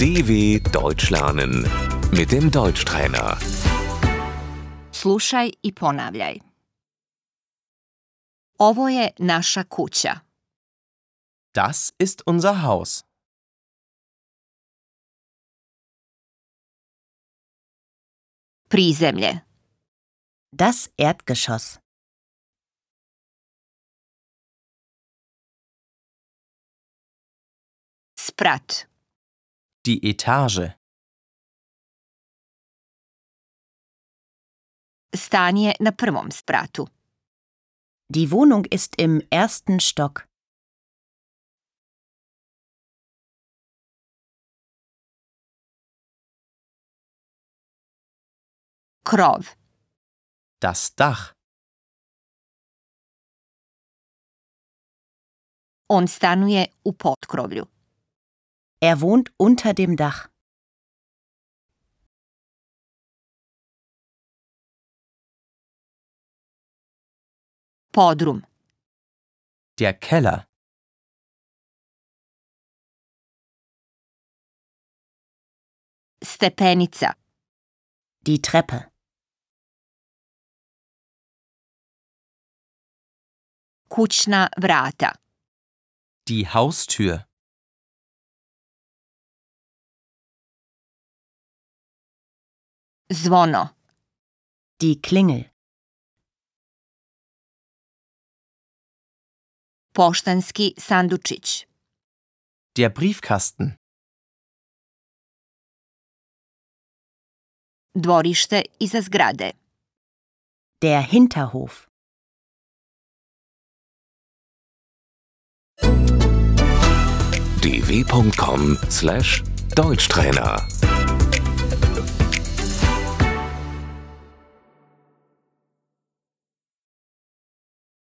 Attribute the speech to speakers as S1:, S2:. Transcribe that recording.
S1: DW Deutsch lernen mit dem Deutschtrainer.
S2: Slušaj i ponavljaj. Ovo je naša kuća.
S3: Das ist unser Haus.
S2: Prizemlje.
S4: Das Erdgeschoss.
S2: Sprat.
S3: Die Etage.
S2: Stan je na prvom spratu.
S4: Die Wohnung ist im ersten Stock.
S2: Krov.
S3: Das Dach.
S2: On stanuje u potkrovlju.
S4: Er wohnt unter dem Dach.
S2: Podrum.
S3: Der Keller.
S2: Stepenica.
S4: Die Treppe.
S2: Kućna vrata.
S3: Die Haustür.
S2: Zvono.
S4: Die Klingel.
S2: Poštanski sandučić.
S3: Der Briefkasten.
S2: Dvorište iza zgrade.
S4: Der Hinterhof.
S1: dw.com/deutschtrainer